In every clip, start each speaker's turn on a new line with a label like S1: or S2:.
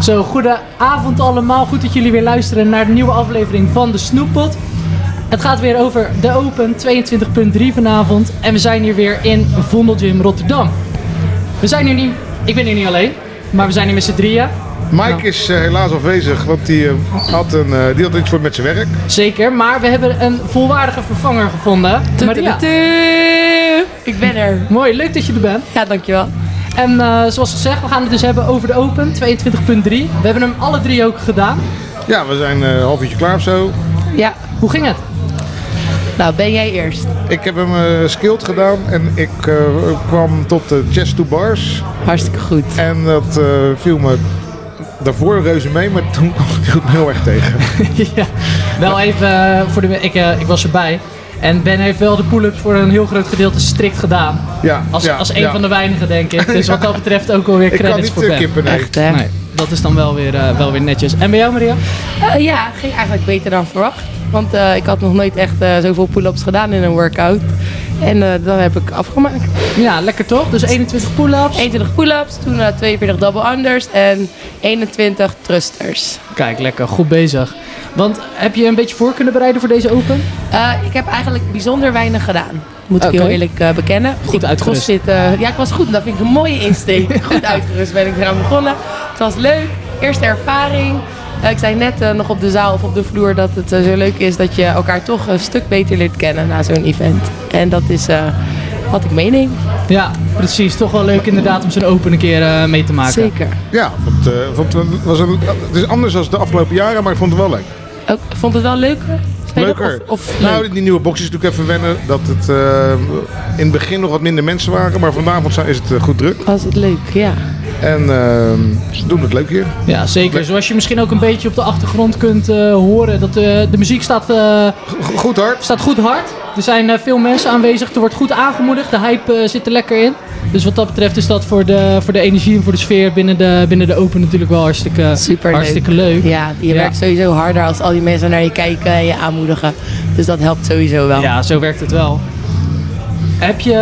S1: Zo, goedenavond allemaal. Goed dat jullie weer luisteren naar de nieuwe aflevering van de Snoeppot. Het gaat weer over de Open 22.3 vanavond. En we zijn hier weer in Vondelgym Rotterdam. We zijn hier niet... Ik ben hier niet alleen. Maar we zijn hier met z'n drieën.
S2: Mike is eh, helaas afwezig, want die, eh, had een, eh, die had iets voor met zijn werk.
S1: Zeker. Maar we hebben een volwaardige vervanger gevonden. Maria.
S3: Tudu. Ik ben er.
S1: Mooi, leuk dat je er bent.
S3: Ja, dankjewel.
S1: En eh, zoals gezegd, we gaan het dus hebben over de Open 22.3. We hebben hem alle drie ook gedaan.
S2: Ja, we zijn eh, een half uurtje klaar of zo.
S3: Ja.
S1: Hoe ging het?
S3: Nou, ben jij eerst.
S2: Ik heb hem eh skilled gedaan en ik eh, kwam tot de chest to bars.
S3: Hartstikke goed.
S2: En dat eh, viel me daarvoor reuze mee, maar toen kwam ik het heel erg tegen.
S1: ja. Wel even eh, voor de. Ik, eh, ik was erbij. En Ben heeft wel de pull-ups voor een heel groot gedeelte strikt gedaan.
S2: Ja,
S1: Als,
S2: ja,
S1: als een
S2: ja.
S1: van de weinigen, denk ik. Dus wat dat betreft ook alweer
S2: Ik kan
S1: credits
S2: niet
S1: voor Ben.
S2: eh, kippen, nee.
S3: Echt, hè?
S1: Nee, dat is dan wel weer, eh, wel weer netjes. En bij jou, Maria?
S3: Eh, ja, ging eigenlijk beter dan verwacht. Want eh, ik had nog nooit echt eh, zoveel pull-ups gedaan in een workout. En eh, dat heb ik afgemaakt.
S1: Ja, lekker toch? Dus 21 pull-ups.
S3: 21 pull-ups, toen eh, 42 double unders en 21 thrusters.
S1: Kijk, lekker. Goed bezig. Want heb je een beetje voor kunnen bereiden voor deze open?
S3: Eh, ik heb eigenlijk bijzonder weinig gedaan. Moet ik
S1: Oké.
S3: heel eerlijk eh, bekennen.
S1: Goed
S3: Ik
S1: uitgerust.
S3: crossfit, eh, ja, ik was goed. Dat vind ik een mooie insteek. Goed uitgerust ben ik eraan begonnen. Het was leuk. Eerste ervaring. Eh, ik zei net eh, nog op de zaal of op de vloer dat het eh, zo leuk is dat je elkaar toch een stuk beter leert kennen na zo'n event. En dat is eh, wat ik meeneem.
S1: Ja, precies. Toch wel leuk inderdaad om zo'n open een keer eh, mee te maken.
S3: Zeker.
S2: Ja, want, eh, vond, het was een, het is anders dan de afgelopen jaren, maar ik vond het wel leuk.
S3: Ook, vond het wel leuker? spelen?
S2: Leuker.
S3: Of, of
S2: Nou,
S3: leuk?
S2: die nieuwe box is natuurlijk even wennen. Dat het eh, in het begin nog wat minder mensen waren, maar vanavond zijn- is het eh, goed druk.
S3: was het leuk, ja.
S2: En eh, ze doen het leuk hier.
S1: Ja, zeker.
S2: Lekker.
S1: Zoals je misschien ook een beetje op de achtergrond kunt eh, horen. Dat, eh, de muziek staat eh,
S2: Go- Goed hard.
S1: staat goed hard. Er zijn eh, veel mensen aanwezig. Er wordt goed aangemoedigd. De hype eh, zit er lekker in. Dus wat dat betreft is dat voor de, voor de energie en voor de sfeer binnen de, binnen de Open natuurlijk wel hartstikke,
S3: Superleuk.
S1: hartstikke leuk.
S3: Ja, je
S1: Ja.
S3: werkt sowieso harder als al die mensen naar je kijken en je aanmoedigen. Dus dat helpt sowieso wel.
S1: Ja, zo werkt het wel. Heb je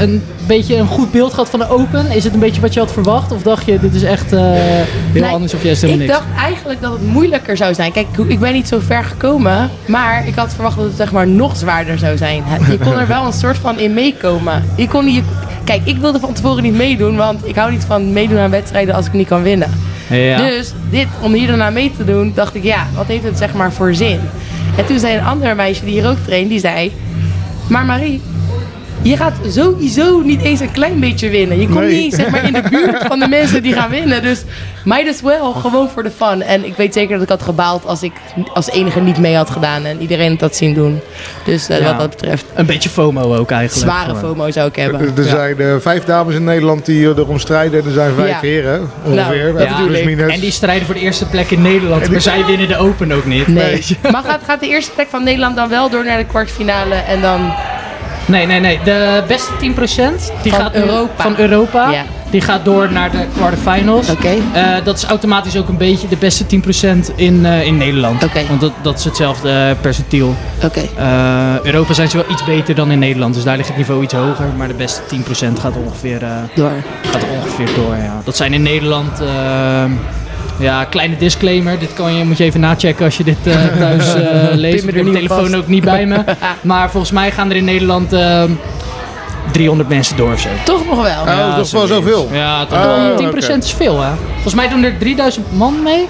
S1: een beetje een goed beeld gehad van de Open? Is het een beetje wat je had verwacht? Of dacht je, dit is echt eh, heel
S3: Nee,
S1: anders of juist
S3: Ik
S1: helemaal niks?
S3: dacht eigenlijk dat het moeilijker zou zijn. Kijk, ik ben niet zo ver gekomen, maar ik had verwacht dat het zeg maar nog zwaarder zou zijn. Je kon er wel een soort van in meekomen. Je kon niet, kijk, ik wilde van tevoren niet meedoen, want ik hou niet van meedoen aan wedstrijden als ik niet kan winnen.
S1: Ja.
S3: Dus dit, om hier daarna mee te doen, dacht ik, ja, wat heeft het zeg maar voor zin? En toen zei een ander meisje die hier ook traint, die zei, maar Marie, je gaat sowieso niet eens een klein beetje winnen. Je komt
S2: Nee.
S3: niet eens zeg maar, in de buurt van de mensen die gaan winnen. Dus might as well, gewoon voor de fun. En ik weet zeker dat ik had gebaald als ik als enige niet mee had gedaan. En iedereen had dat zien doen. Dus eh,
S1: Ja.
S3: wat dat betreft,
S1: Een beetje FOMO ook eigenlijk.
S3: zware
S1: Gewoon.
S3: FOMO zou ik hebben.
S2: Er zijn eh, vijf dames in Nederland die eh, erom strijden. En er zijn vijf
S3: Ja.
S2: heren, ongeveer.
S3: Nou,
S2: Even plus
S3: ja.
S2: dus minus.
S1: En die strijden voor de eerste plek in Nederland.
S2: die-
S1: Maar zij winnen de Open ook niet.
S3: Nee. Maar gaat, gaat de eerste plek van Nederland dan wel door naar de kwartfinale en dan...
S1: Nee, nee, nee. De beste 10% die
S3: Van
S1: gaat nu-
S3: Europa.
S1: van Europa
S3: Ja.
S1: die gaat door naar de quarterfinals.
S3: Oké.
S1: Eh, dat is automatisch ook een beetje de beste 10% in, eh, in Nederland.
S3: Oké.
S1: Want dat, dat is hetzelfde percentiel.
S3: Oké.
S1: Eh, Europa zijn ze wel iets beter dan in Nederland, dus daar ligt het niveau iets hoger. Maar de beste 10% gaat ongeveer, eh,
S3: Door.
S1: gaat ongeveer door. Ja. Dat zijn in Nederland. eh, ja, kleine disclaimer. Dit kan je, moet je even nachecken als je dit eh, thuis eh, leest.
S3: me
S1: Ik
S3: er
S1: heb de
S3: niet op
S1: telefoon
S3: vast.
S1: ook niet bij me. Maar volgens mij gaan er in Nederland eh, 300 mensen door of zo.
S3: Toch nog wel.
S2: Oh, dat is wel
S1: zoiets.
S2: zoveel.
S1: Ja, toch
S2: Oh,
S1: wel.
S2: oké.
S1: 10% is veel, hè? Volgens mij doen er 3000 man mee.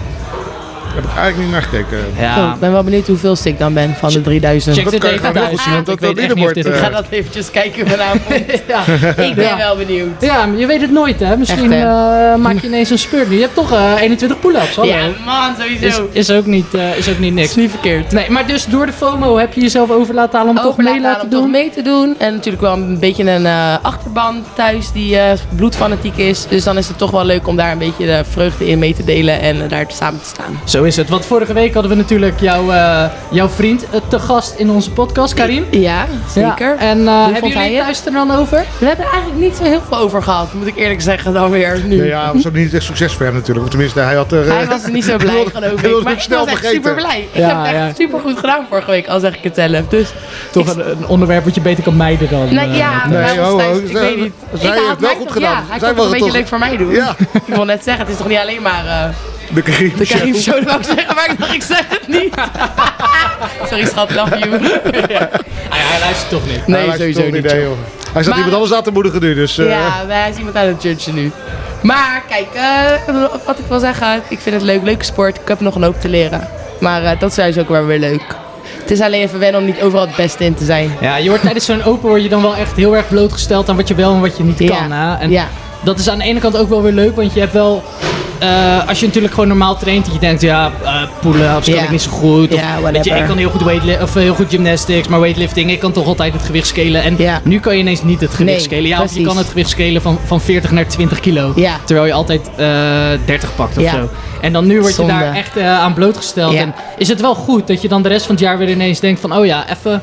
S2: Heb ik eigenlijk niet naar gekeken.
S3: Oh,
S1: Ja,
S3: ik ben wel benieuwd hoeveel ik dan ben van de 3000.
S1: check
S2: dat
S1: dit
S2: kan je
S1: even
S2: gewoon
S1: thuis.
S2: regelen,
S1: want
S2: dat
S1: ik weet
S2: dat
S1: echt niet of dit-
S3: Ik ga
S2: leaderboard,
S3: dat eventjes kijken vanavond.
S1: Ja.
S3: ik ben
S1: Ja.
S3: wel benieuwd.
S1: Ja, maar je weet het nooit, hè? Misschien
S3: Echt, hè?
S1: eh, maak je ineens een spurt nu. Je hebt toch eh, 21 pull-ups, hallo?
S3: Ja, man, sowieso.
S1: Is, is, ook niet, eh, is ook niet niks.
S3: niet verkeerd.
S1: Nee, maar dus door de FOMO heb je jezelf over laten halen om
S3: Ook
S1: toch mee laten doen?
S3: Toch mee te doen. En natuurlijk wel een beetje een eh, achterban thuis die eh, bloedfanatiek is. Dus dan is het toch wel leuk om daar een beetje de vreugde in mee te delen en eh, daar samen te staan.
S1: Zo is het. Want vorige week hadden we natuurlijk jouw, eh, jouw vriend eh, te gast in onze podcast, Karim.
S3: Ja, zeker.
S1: Ja. En eh, hebben
S3: vond hij
S1: jullie
S3: het?
S1: thuis er dan over?
S3: We hebben er eigenlijk niet zo heel veel over gehad, moet ik eerlijk zeggen dan weer nu.
S2: Nee, ja, dat was ook niet echt succes voor hem natuurlijk. Of tenminste, hij had er... eh,
S3: Hij was er niet zo blij,
S2: wilde-
S3: geloof
S2: hij
S3: ik.
S2: wilde
S3: Maar
S2: het
S3: ik
S2: snel
S3: was echt
S2: vergeten.
S3: super blij. Ik
S1: Ja,
S3: heb het
S1: ja.
S3: echt super goed gedaan vorige week, al zeg ik het zelf. Dus
S1: Toch een, een onderwerp wat je beter kan mijden dan...
S3: Nou
S1: eh,
S3: ja,
S2: Nee,
S3: bij ons
S2: ho,
S3: thuis,
S2: ho,
S3: ik
S2: zij-
S3: weet niet.
S2: zij
S3: ik
S2: heeft
S3: haal
S2: het wel
S3: mij
S2: goed
S3: toch-
S2: gedaan.
S3: Ja,
S2: Zij
S3: hij kon het
S2: was
S3: een
S2: het
S3: beetje
S2: toch-
S3: leuk voor mij doen.
S2: Ja.
S3: Ik wil net zeggen, het is toch niet alleen maar eh,
S2: De Karim
S3: De
S2: Show.
S3: Karim Show, dat wou ik zeggen, maar ik dacht, ik zeg het niet. Sorry schat, love you.
S1: Ah, ja, hij luistert toch niet.
S2: Hij
S3: Nee,
S2: lijkt
S3: sowieso
S2: toch
S3: niet.
S2: idee, joh. Hij zat
S3: Maar-
S2: iemand anders aan te moedigen nu, dus... eh,
S3: Ja, maar hij is iemand aan het judgen nu. Maar kijk, eh, wat ik wil zeggen, ik vind het leuk, leuke sport. Ik heb nog een hoop te leren. Maar eh, dat is juist ook wel weer leuk. Het is alleen even wennen om niet overal het beste in te zijn.
S1: Ja, je wordt tijdens zo'n open word je dan wel echt heel erg blootgesteld aan wat je wel en wat je niet
S3: Ja.
S1: kan. Hè? En
S3: Ja.
S1: dat is aan de ene kant ook wel weer leuk, want je hebt wel... eh, als je natuurlijk gewoon normaal traint, dat je denkt, ja, eh pull-ups kan
S3: Ja.
S1: ik niet zo goed. Of,
S3: Ja,
S1: weet je,
S3: whatever.
S1: ik kan heel goed, weightli- of, eh, heel goed gymnastics, maar weightlifting, ik kan toch altijd het gewicht scalen. En
S3: Ja.
S1: nu kan je ineens niet het gewicht
S3: Nee,
S1: scalen. Ja, of je
S3: precies.
S1: kan het gewicht scalen van, van 40 naar 20 kilo.
S3: Ja.
S1: Terwijl je altijd eh, 30 pakt of
S3: Ja.
S1: zo. En dan nu word je
S3: Zonde.
S1: daar echt eh, aan blootgesteld.
S3: Ja.
S1: En is het wel goed dat je dan de rest van het jaar weer ineens denkt van, oh ja, even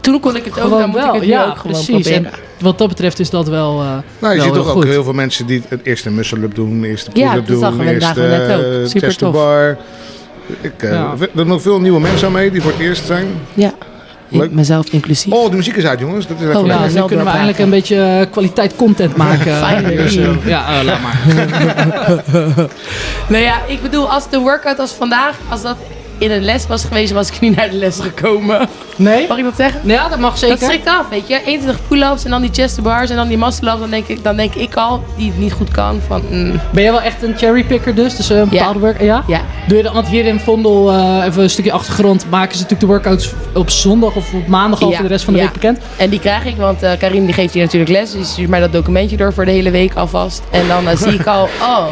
S3: Toen kon ik het ook, dan moet ik het nu ook gewoon proberen.
S1: en wat dat betreft is dat wel. eh,
S2: Nou, je
S1: wel
S2: ziet
S1: heel
S2: toch ook
S1: goed.
S2: heel veel mensen die het eerst een muscle-up doen, eerst een
S3: Ja,
S2: pull-up
S3: dat zag
S2: doen,
S3: we
S2: eerst
S3: vandaag net ook.
S2: eh,
S3: Super
S2: chest to
S3: tof.
S2: bar. Ik, eh,
S1: Ja.
S2: Er zijn nog veel nieuwe mensen aan mee die voor het eerst zijn.
S3: Ja,
S2: Leuk.
S3: ik, mezelf inclusief.
S2: Oh, de muziek is uit, jongens. Dat is
S3: Oh,
S2: even
S1: Ja,
S2: lekker.
S1: dan
S3: zelf
S1: kunnen we
S3: doorpraten.
S1: eindelijk een beetje eh, kwaliteit content maken.
S3: Finally.
S1: Dus, eh, ja, eh, laat maar.
S3: Nou ja, ik bedoel, als de workout als vandaag, als dat in een les was geweest, was ik niet naar de les gekomen.
S1: Nee?
S3: Mag ik dat zeggen?
S1: Ja, dat mag zeker.
S3: Dat schrikt af, weet je. 21 pull-ups en dan die chest to bars en dan die muscle ups. Dan denk ik, dan denk ik al, die het niet goed kan, van mm,
S1: Ben jij wel echt een cherrypicker dus? Dus eh, een
S3: Ja.
S1: bepaalde workout? Ja?
S3: ja.
S1: Doe je dat, want hier in Vondel, eh, even een stukje achtergrond, maken ze natuurlijk de workouts op zondag of op maandag al
S3: Ja.
S1: voor de rest van de
S3: Ja.
S1: week bekend.
S3: En die krijg ik, want eh, Karim die geeft hier natuurlijk les. Dus die stuurt mij dat documentje door voor de hele week alvast. En dan eh, zie ik al, oh,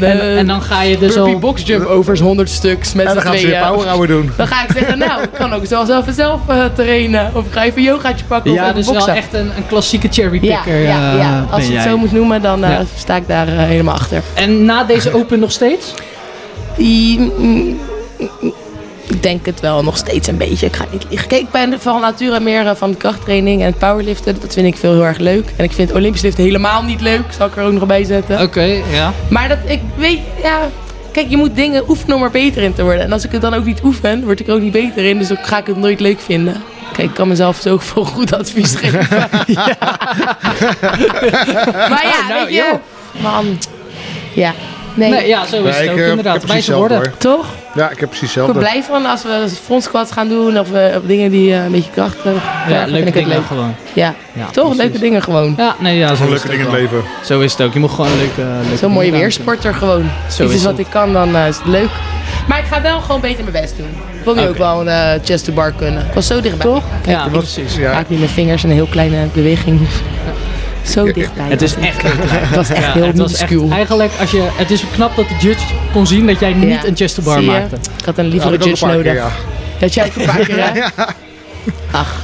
S3: uh,
S1: En, en dan ga je dus
S3: burpee
S1: al...
S3: box jump overs 100 stuks met
S2: En
S3: z'n
S2: dan gaan ze
S3: tweeën.
S1: eh,
S2: weer power hour doen.
S3: Dan ga ik zeggen, nou, ik kan ook zelfs even zelf eh, trainen. Of ik ga even een yogaatje pakken of
S1: Ja,
S3: even
S1: dus wel
S3: boksen.
S1: echt een, een klassieke cherrypicker.
S3: ja,
S1: eh,
S3: ja.
S1: ben
S3: Als je het
S1: jij.
S3: zo moet noemen, dan eh,
S1: Ja.
S3: sta ik daar eh, helemaal achter.
S1: En na deze open nog steeds?
S3: Die, mm, ik denk het wel nog steeds een beetje. Ik ga niet liegen. Kijk, ik ben van nature meer eh, van krachttraining en het powerliften. Dat vind ik veel heel erg leuk. En ik vind Olympisch liften helemaal niet leuk. Zal ik er ook nog bij zetten.
S1: Oké, ja.
S3: Maar dat ik weet, ja. Kijk, je moet dingen oefenen om er beter in te worden. En als ik het dan ook niet oefen, word ik er ook niet beter in. Dus dan ga ik het nooit leuk vinden. Kijk, ik kan mezelf zo veel goed advies geven. maar ja,
S1: Oh, nou,
S3: weet je. Man. Ja. Nee.
S1: Nee, ja, zo is
S2: Nee,
S1: het ook
S2: eh,
S1: inderdaad.
S2: precies
S1: Wijze
S2: zelf,
S1: woorden.
S2: hoor.
S3: Toch?
S2: Ja, ik heb precies
S3: Ik
S2: zelf.
S3: word
S2: dat.
S3: blij van als we front squats gaan doen of we op dingen die eh, een beetje kracht hebben.
S1: Ja,
S3: vind
S1: leuke
S3: ik het
S1: dingen
S3: leuk.
S1: gewoon.
S3: Ja.
S1: Ja,
S3: Toch?
S1: precies.
S3: Leuke dingen gewoon.
S1: Ja, nee, ja, zo
S2: Gewoon
S1: is
S2: leuke
S1: het
S2: dingen in
S1: ook
S2: het
S1: wel.
S2: leven.
S1: Zo is het ook. Je moet gewoon eh, leuke, leuke
S3: Zo'n mooie
S1: dingen aan
S3: weersporter gewoon.
S1: Zo
S3: Dit
S1: is
S3: is wat
S1: het.
S3: ik kan, dan eh, is het leuk. Maar ik ga wel gewoon beter mijn best doen. Ik wil nu
S1: Oké.
S3: ook wel een eh, chest to bar kunnen. Ik was zo dichtbij. Toch?
S1: doen.
S3: Kijk,
S1: Ja,
S3: ik
S1: precies.
S2: Ja.
S3: maak nu mijn vingers een heel kleine beweging. Zo dichtbij.
S1: Het is
S3: was ik.
S1: echt heel klein.
S3: Het was echt
S1: Ja,
S3: heel
S1: het was echt,
S3: minuscuul.
S1: eigenlijk, als je, het is knap dat de judge kon zien dat jij niet
S3: Ja.
S1: een chest to bar
S3: Zie je?
S1: maakte.
S3: Ik had een
S2: Ja,
S3: lievere
S2: dat ook een
S3: judge
S2: paar
S3: nodig.
S2: keer, ja.
S3: Dat jij ook een paar keer, hè? Ach,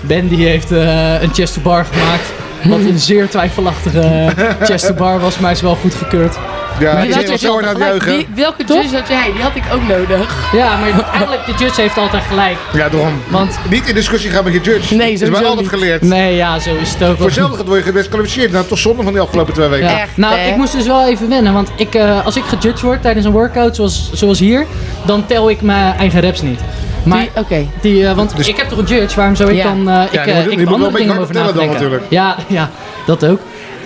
S1: Ben die heeft eh, een chest to bar gemaakt. Wat een zeer twijfelachtige eh, chest to bar was, maar is wel goed gekeurd.
S2: Ja,
S3: die
S2: ik
S3: had
S2: zit
S3: je
S2: wel zo hard
S3: zelf
S2: aan het
S3: gelijk.
S2: juichen.
S3: Die- welke
S1: Toch?
S3: judge had jij? Die had ik ook nodig.
S1: Ja, maar eigenlijk, de judge heeft altijd gelijk.
S2: Ja, daarom.
S1: Want,
S2: Niet in discussie gaan met je judge.
S3: Nee,
S2: Dat is mij
S3: sowieso
S2: altijd
S3: niet.
S2: geleerd.
S1: nee, ja, zo is het ook.
S2: Voor hetzelfde word je gedisqualificeerd. Nou, toch zonde van die afgelopen twee weken.
S1: Ja.
S3: Echt,
S1: nou,
S3: hè?
S1: ik moest dus wel even wennen. Want ik, eh, als ik gejudged word tijdens een workout, zoals, zoals hier, dan tel ik mijn eigen reps niet. Maar
S3: Die- Oké.
S1: die, eh, want
S2: Dus-
S1: ik heb toch een judge, waarom zou ik
S3: Ja.
S1: dan... eh, ik,
S2: die
S1: eh,
S2: moet- die
S1: ik heb
S2: moet wel
S1: andere
S2: een beetje
S1: dingen om over na
S2: harder
S1: te
S2: tellen
S1: denken.
S2: dan natuurlijk.
S1: Ja, ja, dat ook.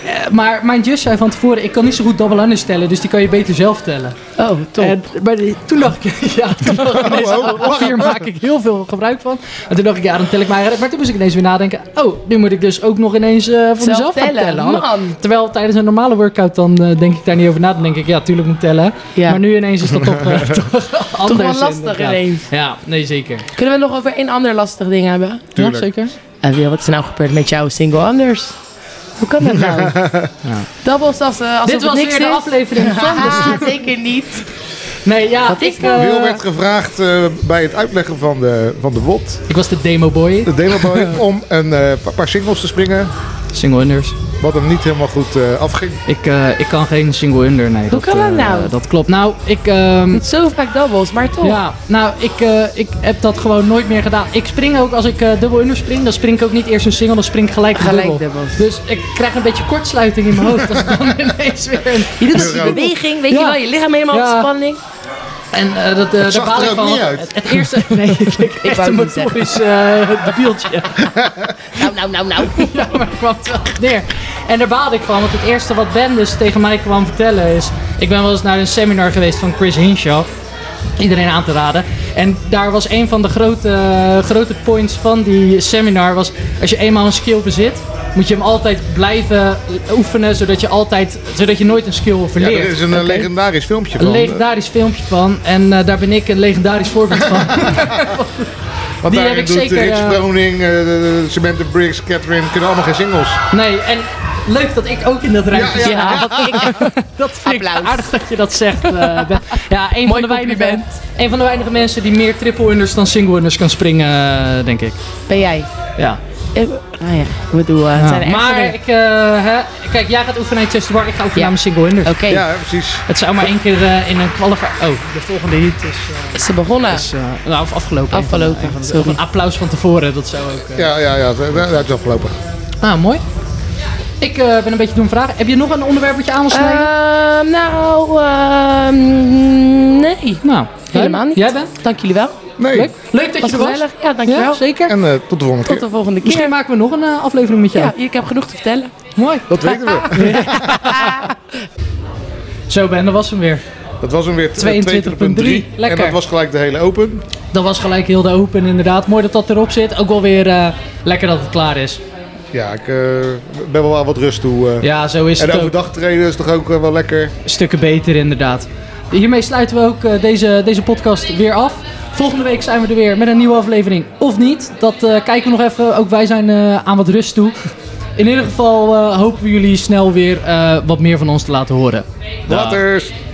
S1: Eh, maar mijn judge zei van tevoren, ik kan niet zo goed double unders tellen, dus die kan je beter zelf tellen.
S3: Oh, top.
S1: En, maar die- toen dacht ik, ja, toen dacht ik ineens,
S2: oh,
S1: oh, hier maak ik heel veel gebruik van. En toen dacht ik, ja, dan tel ik mijn eigen rep. Maar toen moest ik ineens weer nadenken, oh, nu moet ik dus ook nog ineens eh voor
S3: Zelf
S1: mezelf gaan
S3: tellen,
S1: tellen. Handig.
S3: man.
S1: Terwijl tijdens een normale workout dan eh, denk ik daar niet over na. Dan denk ik, ja, tuurlijk moet tellen.
S3: Ja.
S1: Maar nu ineens is dat toch, eh, toch anders.
S3: wel lastig
S1: inderdaad.
S3: ineens.
S1: Ja, nee, zeker.
S3: Kunnen we het nog over één ander lastig ding hebben?
S2: Tuurlijk.
S1: Ja, zeker.
S3: En Wil, wat is er nou gebeurd met jouw single anders? Hoe kan dat nou? Doubles als, eh, alsof
S1: Dit was
S3: het niks
S1: weer de
S3: is.
S1: aflevering van de...
S3: Ah, zeker niet.
S1: Nee, ja,
S3: Wat is
S1: ik,
S3: dat?
S1: eh,
S2: Wil werd gevraagd eh, bij het uitleggen van de, van de WOT,
S1: ik was de demo boy.
S2: de demoboy, om een eh, pa- paar singles te springen.
S1: Single unders.
S2: Wat hem niet helemaal goed eh, afging.
S1: Ik, eh, ik kan geen single under, nee. Hoe
S3: kan dat nou?
S1: Dat klopt. Nou, ik... ehm,
S3: Niet zo vaak doubles, maar toch.
S1: Ja, nou, ik, eh, ik heb dat gewoon nooit meer gedaan. Ik spring ook, als ik eh, dubbel under spring, dan spring ik ook niet eerst een single, dan spring ik gelijk een
S3: Gelijk
S1: dubbel.
S3: doubles.
S1: Dus ik krijg een beetje kortsluiting in mijn hoofd als ik dan ineens weer... een-
S3: Je doet ook die
S2: Ja.
S3: beweging, weet
S1: Ja.
S3: je wel, je lichaam helemaal
S1: Ja.
S3: op spanning.
S1: En eh, dat, eh, daar
S2: zag
S1: baal
S2: er
S1: ik
S2: ook
S1: van.
S2: niet
S1: want
S2: uit.
S1: Het, het eerste... Nee, het leek echt
S3: wou
S1: een
S3: het niet zeggen.
S1: motorisch eh debieltje.
S3: Nou, nou, nou, nou.
S1: Ja, maar ik kwam het wel goed neer. En daar baalde ik van, want het eerste wat Ben dus tegen mij kwam vertellen is... Ik ben wel eens naar een seminar geweest van Chris Hinshaw. Iedereen aan te raden. En daar was een van de grote, grote points van die seminar was... Als je eenmaal een skill bezit, moet je hem altijd blijven oefenen... zodat je, altijd, zodat je nooit een skill
S2: Ja,
S1: verleert.
S2: er is een eh, legendarisch filmpje
S1: Een
S2: van.
S1: legendarisch filmpje van. En eh, daar ben ik een legendarisch voorbeeld van.
S2: Want
S1: die
S2: daarin
S1: heb ik
S2: doet
S1: zeker,
S2: Rich
S1: eh,
S2: Broning, eh, de- de Samantha Briggs, Catherine, kunnen allemaal geen singles.
S1: Nee, en leuk dat ik ook in dat rijtje
S3: Ja,
S1: zit. Dat, ik- dat vind ik
S3: Applaus.
S1: aardig dat je dat zegt, eh, Ben. Ja, een van,
S3: Mooi
S1: de weinige,
S3: compliment.
S1: een van de weinige mensen die meer triple unders dan single unders kan springen, eh, denk ik.
S3: Ben jij?
S1: Ja.
S3: Ik, nou ja, ik bedoel, eh, het zijn er echt
S1: Maar
S3: dingen.
S1: ik, eh, hè, kijk, jij gaat oefenen naar Chester Bar, ik ga oefenen
S3: Ja.
S1: naar mijn single under.
S3: Oké,
S2: Ja, precies.
S1: Het zou maar één keer eh, in een qualifier... Oh, de volgende hit is, eh,
S3: ze begonnen.
S1: is eh, nou, of afgelopen.
S3: Afgelopen,
S1: Een van de-
S3: sorry.
S1: of een applaus van tevoren, dat zou ook... eh,
S2: Ja, ja, ja, dat dat is afgelopen.
S1: Ah, mooi. Ik eh, ben een beetje doen vragen. Heb je nog een onderwerp wat je aan wil snijden?
S3: Ehm, nou, ehm, nee.
S1: nou,
S3: Helemaal niet.
S1: Jij bent?
S3: Dank jullie wel.
S2: Nee,
S1: Leuk. Leuk dat
S3: Was
S1: je er was.
S3: gezellig. Ja, dankjewel.
S1: Ja, zeker.
S2: en eh, tot de volgende
S3: Tot
S2: keer.
S3: de volgende keer.
S1: Misschien maken we nog een eh, aflevering met jou.
S3: Ja, ik heb genoeg te vertellen.
S1: Mooi.
S2: Dat weten we.
S1: Zo Ben, dat was hem weer.
S2: Dat was hem weer eh,
S1: 22.3.
S2: 22.3. En
S1: Lekker.
S2: dat was gelijk de hele open.
S1: Dat was gelijk heel de open inderdaad. Mooi dat dat erop zit. Ook wel weer eh, lekker dat het klaar is.
S2: Ja, ik eh, ben wel aan wat rust toe. eh.
S1: Ja, zo is
S2: en
S1: het ook.
S2: overdag trainen is toch ook eh, wel lekker.
S1: Stukken beter inderdaad. Hiermee sluiten we ook eh, deze, deze podcast weer af. Volgende week zijn we er weer met een nieuwe aflevering. Of niet, dat eh, kijken we nog even. Ook wij zijn eh, aan wat rust toe. In ieder geval eh, hopen we jullie snel weer eh, wat meer van ons te laten horen. Dag.
S2: Waters!